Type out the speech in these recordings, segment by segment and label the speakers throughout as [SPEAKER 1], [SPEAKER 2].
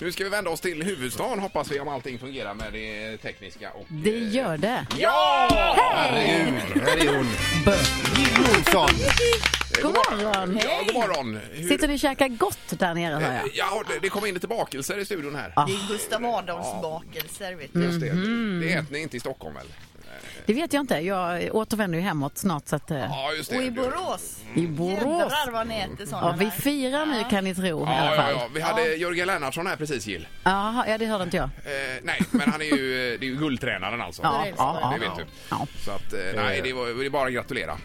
[SPEAKER 1] Nu ska vi vända oss till huvudstaden hoppas vi om allting fungerar med det tekniska och...
[SPEAKER 2] Det gör det.
[SPEAKER 1] Ja! Herregud! Herregud!
[SPEAKER 3] Jill Johnson.
[SPEAKER 2] God morgon!
[SPEAKER 1] Ja, god morgon! Hur-
[SPEAKER 2] Sitter ni och käkar gott där nere hör jag?
[SPEAKER 1] Ja, det, det kom in lite bakelser i studion här.
[SPEAKER 2] Ah.
[SPEAKER 4] Det är Gustav Adolfs bakelser, vet du.
[SPEAKER 1] Just det. det äter ni inte i Stockholm väl?
[SPEAKER 2] Det vet jag inte. Jag återvänder ju hemåt snart så att... eh,
[SPEAKER 1] Ja, just det.
[SPEAKER 4] Och i Borås.
[SPEAKER 2] I Borås.
[SPEAKER 4] Jädrar vad ni äter sådana
[SPEAKER 2] Ja, vi
[SPEAKER 4] där.
[SPEAKER 2] firar nu kan ni tro i
[SPEAKER 1] Ja,
[SPEAKER 2] alla
[SPEAKER 1] ja,
[SPEAKER 2] fall.
[SPEAKER 1] ja. Vi hade Jörgen Lennartsson här precis, Jill.
[SPEAKER 2] Jaha, ja det hörde inte jag.
[SPEAKER 1] Eh, nej, men han är ju, eh, det är ju guldtränaren alltså.
[SPEAKER 2] Ja,
[SPEAKER 1] det
[SPEAKER 2] ja, ja.
[SPEAKER 1] vet du.
[SPEAKER 2] Ja.
[SPEAKER 1] Så att, eh, nej, det var- det är bara att gratulera.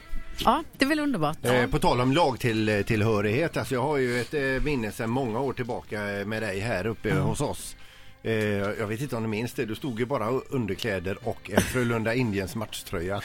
[SPEAKER 2] Ja, det är väl underbart.
[SPEAKER 3] Eh, på tal om lagtillhörighet, alltså jag har ju ett eh, minne sedan många år tillbaka eh, med dig här uppe
[SPEAKER 2] Mm.
[SPEAKER 3] hos oss. Eh, jag vet inte om du minns det, du stod ju bara i underkläder och en Frölunda Indiens matchtröja.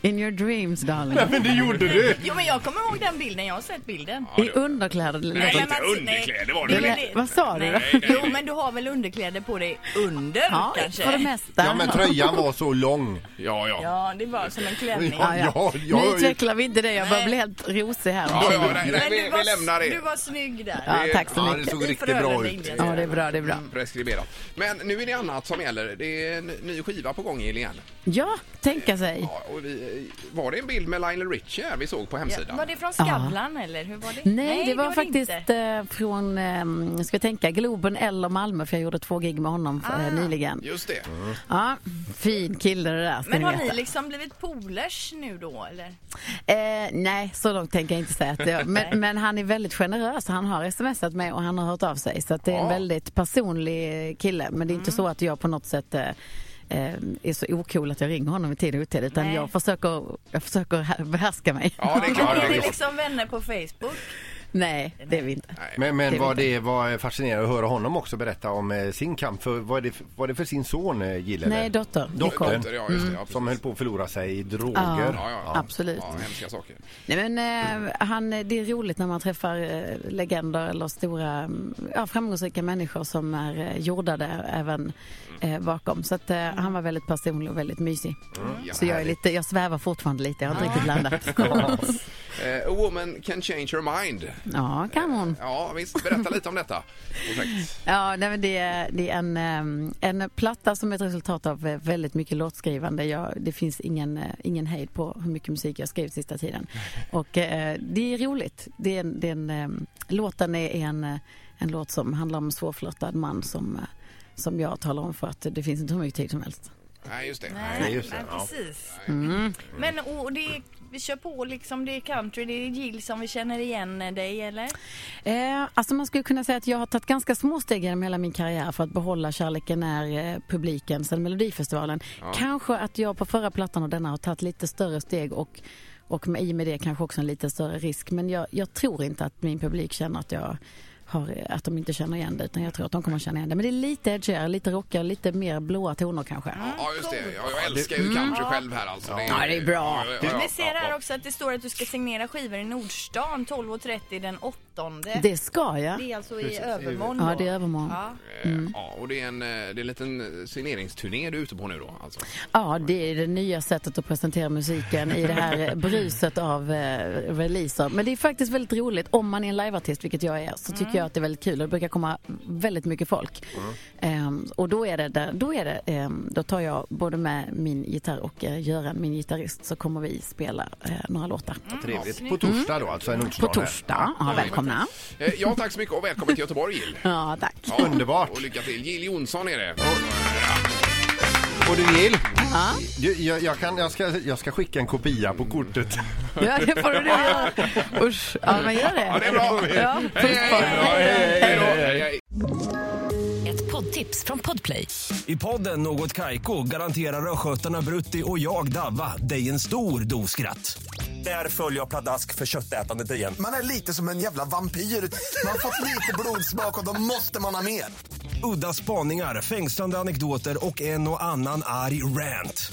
[SPEAKER 2] In your dreams darling.
[SPEAKER 3] Men det gjorde du!
[SPEAKER 4] Jo, men jag kommer ihåg den bilden. Jag har sett bilden.
[SPEAKER 2] I underkläder. det
[SPEAKER 1] Nej,
[SPEAKER 2] låter-
[SPEAKER 1] inte
[SPEAKER 4] man-
[SPEAKER 1] underkläder var
[SPEAKER 2] det
[SPEAKER 1] det
[SPEAKER 4] Nej,
[SPEAKER 1] väl
[SPEAKER 2] lät- Vad sa du? då?
[SPEAKER 1] Nej, nej,
[SPEAKER 4] Jo,
[SPEAKER 1] nej.
[SPEAKER 4] men du har väl underkläder på dig under
[SPEAKER 2] Ja,
[SPEAKER 4] kanske?
[SPEAKER 2] för det mesta.
[SPEAKER 3] Ja men tröjan var så lång.
[SPEAKER 1] Ja, ja.
[SPEAKER 4] Ja, det var som en klänning.
[SPEAKER 3] Ja, ja,
[SPEAKER 2] Nu
[SPEAKER 3] jag-
[SPEAKER 2] utvecklar vi inte det, jag börjar
[SPEAKER 4] Nej.
[SPEAKER 2] bli helt rosig här.
[SPEAKER 1] ja, ja nej, nej,
[SPEAKER 4] Men
[SPEAKER 1] vi,
[SPEAKER 4] du var,
[SPEAKER 1] vi lämnar
[SPEAKER 4] Du
[SPEAKER 1] det.
[SPEAKER 4] var snygg där.
[SPEAKER 2] Ja, tack så
[SPEAKER 3] Ja,
[SPEAKER 2] mycket.
[SPEAKER 3] det såg
[SPEAKER 4] I
[SPEAKER 3] riktigt bra
[SPEAKER 4] Frölunda
[SPEAKER 3] ut.
[SPEAKER 4] Indiens.
[SPEAKER 2] Ja, det är bra, det är bra.
[SPEAKER 1] Preskriberat. Mm. Men nu är det annat som gäller. Det är en ny skiva på gång Jill, igen.
[SPEAKER 2] Ja, tänka sig.
[SPEAKER 1] Ja, och vi, var det en bild med Lionel Richie här vi såg på
[SPEAKER 4] Ja,
[SPEAKER 1] hemsidan?
[SPEAKER 4] var det från Skavlan eller hur var det?
[SPEAKER 2] Nej, det var
[SPEAKER 4] inte.
[SPEAKER 2] faktiskt eh, från, eh, ska jag tänka, Globen eller Malmö för jag gjorde två gig med honom för, eh, nyligen.
[SPEAKER 1] Just det.
[SPEAKER 2] Ja, fin kille det där ska
[SPEAKER 4] Men
[SPEAKER 2] ni
[SPEAKER 4] har
[SPEAKER 2] veta.
[SPEAKER 4] ni liksom blivit polers nu då eller?
[SPEAKER 2] Eh, nej, så långt tänker jag inte säga att det är. men, men han är väldigt generös. Han har smsat mig och han har hört av sig. Så att det är en
[SPEAKER 1] Ja.
[SPEAKER 2] väldigt personlig kille. Men det är inte så att jag på något sätt eh, eh, är så ocool att jag ringer honom i tid och otid. Utan
[SPEAKER 4] Nej.
[SPEAKER 2] jag försöker, jag försöker här- behärska mig.
[SPEAKER 1] Ja, det är klart.
[SPEAKER 4] är
[SPEAKER 1] det
[SPEAKER 4] ni
[SPEAKER 1] är klart.
[SPEAKER 4] liksom vänner på Facebook?
[SPEAKER 2] Nej, det är vi inte.
[SPEAKER 3] Men,
[SPEAKER 2] Det
[SPEAKER 3] men
[SPEAKER 2] vet
[SPEAKER 3] vad det var eh, fascinerande att höra honom också berätta om eh, sin kamp. För, vad, är det, för- vad är det för sin son eh, gillade?
[SPEAKER 2] Nej, dotter.
[SPEAKER 3] Dottern.
[SPEAKER 1] Dotter, ja, just det. Ja,
[SPEAKER 3] Som höll på att förlora sig i droger.
[SPEAKER 2] Ja.
[SPEAKER 1] Ja, ja, ja.
[SPEAKER 2] Absolut.
[SPEAKER 1] Ja, hemska saker.
[SPEAKER 2] Nej, men, eh, han, det är roligt när man träffar eh, legender eller stora mm, ja, framgångsrika människor som är eh, jordade även eh, bakom. Så att, eh, han var väldigt personlig och väldigt mysig.
[SPEAKER 1] Ja,
[SPEAKER 2] Så jag, är
[SPEAKER 1] härligt.
[SPEAKER 2] lite, jag svävar fortfarande lite, jag har inte riktigt landat.
[SPEAKER 1] Eh, A woman can change her mind.
[SPEAKER 2] Ja, kan hon.
[SPEAKER 1] Ja, visst. Berätta lite om detta projekt.
[SPEAKER 2] Ja, nej, men det, är- det är en, eh, en platta som är ett resultat av eh, väldigt mycket låtskrivande. Jag, det finns ingen, eh, ingen hejd på hur mycket musik jag skrivit sista tiden. Och eh, det är roligt. Det är, en- det är en, eh, låten är en, eh, en låt som handlar om en svårflörtad man som, eh, som jag talar om för att det finns inte hur mycket tid som helst.
[SPEAKER 1] Nej, just det.
[SPEAKER 3] Nej, just det,
[SPEAKER 4] nej,
[SPEAKER 3] ja. Mm.
[SPEAKER 4] precis. Mm. Men och det, vi kör på liksom, det är country, det är Jill som vi känner igen dig eller?
[SPEAKER 2] Eh, alltså man skulle kunna säga att jag har tagit ganska små steg genom hela min karriär för att behålla kärleken när eh, publiken sen Melodifestivalen. Kanske att jag på förra plattan och denna har tagit lite större steg och, och med, i och med det kanske också en lite större risk. Men jag, jag tror inte att min publik känner att jag har, eh, att de inte känner igen det utan jag tror att de kommer att känna igen det. Men det är lite edgigare, lite rockigare, lite mer blåa toner kanske.
[SPEAKER 1] Ja, just det. Ja, jag älskar ju country själv här alltså.
[SPEAKER 2] Mm. Ja, det är bra.
[SPEAKER 4] Vi ser här också att det står att du ska signera skivor i Nordstan 12.30 den 8. Det,
[SPEAKER 2] Det ska jag.
[SPEAKER 4] är alltså i övermorgon
[SPEAKER 2] Ja,
[SPEAKER 4] då.
[SPEAKER 2] det är övermorgon.
[SPEAKER 4] Ja.
[SPEAKER 2] Mm.
[SPEAKER 1] Eh, Ja, och det är en, eh, det är en liten signeringsturné du är ute på nu då alltså.
[SPEAKER 2] Ja, det är det nya sättet att presentera musiken i det här bruset av eh, releaser. Men det är faktiskt väldigt roligt. Om man är en liveartist, vilket jag är, så tycker jag att det är väldigt kul. Och det brukar komma väldigt mycket folk. Ehm, och då är det, där, då är det ehm, då tar jag både med min gitarr och eh, Göran, min gitarrist, så kommer vi spela eh, några låtar.
[SPEAKER 3] Mm. Trevligt. På torsdag då, alltså en
[SPEAKER 2] Mm. På
[SPEAKER 3] onsdag.
[SPEAKER 2] torsdag. Ja, välkomna.
[SPEAKER 1] Eh, Ja, tack så mycket och välkommen till Göteborg Jill.
[SPEAKER 2] Ja, tack.
[SPEAKER 1] Ja,
[SPEAKER 3] Underbart.
[SPEAKER 1] Och lycka till. Jill Johnson är det.
[SPEAKER 3] Och du Jill, du, jag, jag, kan, jag, ska, jag ska skicka en kopia på kortet.
[SPEAKER 2] Ja, det får du göra. Usch. Ja, men gör det.
[SPEAKER 1] Ja, det är bra.
[SPEAKER 2] Ja, puss på er.
[SPEAKER 1] Hej då. Hej, hej.
[SPEAKER 5] Ett poddtips från Podplay.
[SPEAKER 6] I podden Något Kaiko garanterar östgötarna Brutti och jag, Davva, dig en stor dos skratt. Där följer jag pladask för köttätandet igen.
[SPEAKER 7] Man är lite som en jävla vampyr. Man har fått lite blodsmak och då måste man ha mer.
[SPEAKER 6] Udda spaningar, fängslande anekdoter och en och annan arg rant.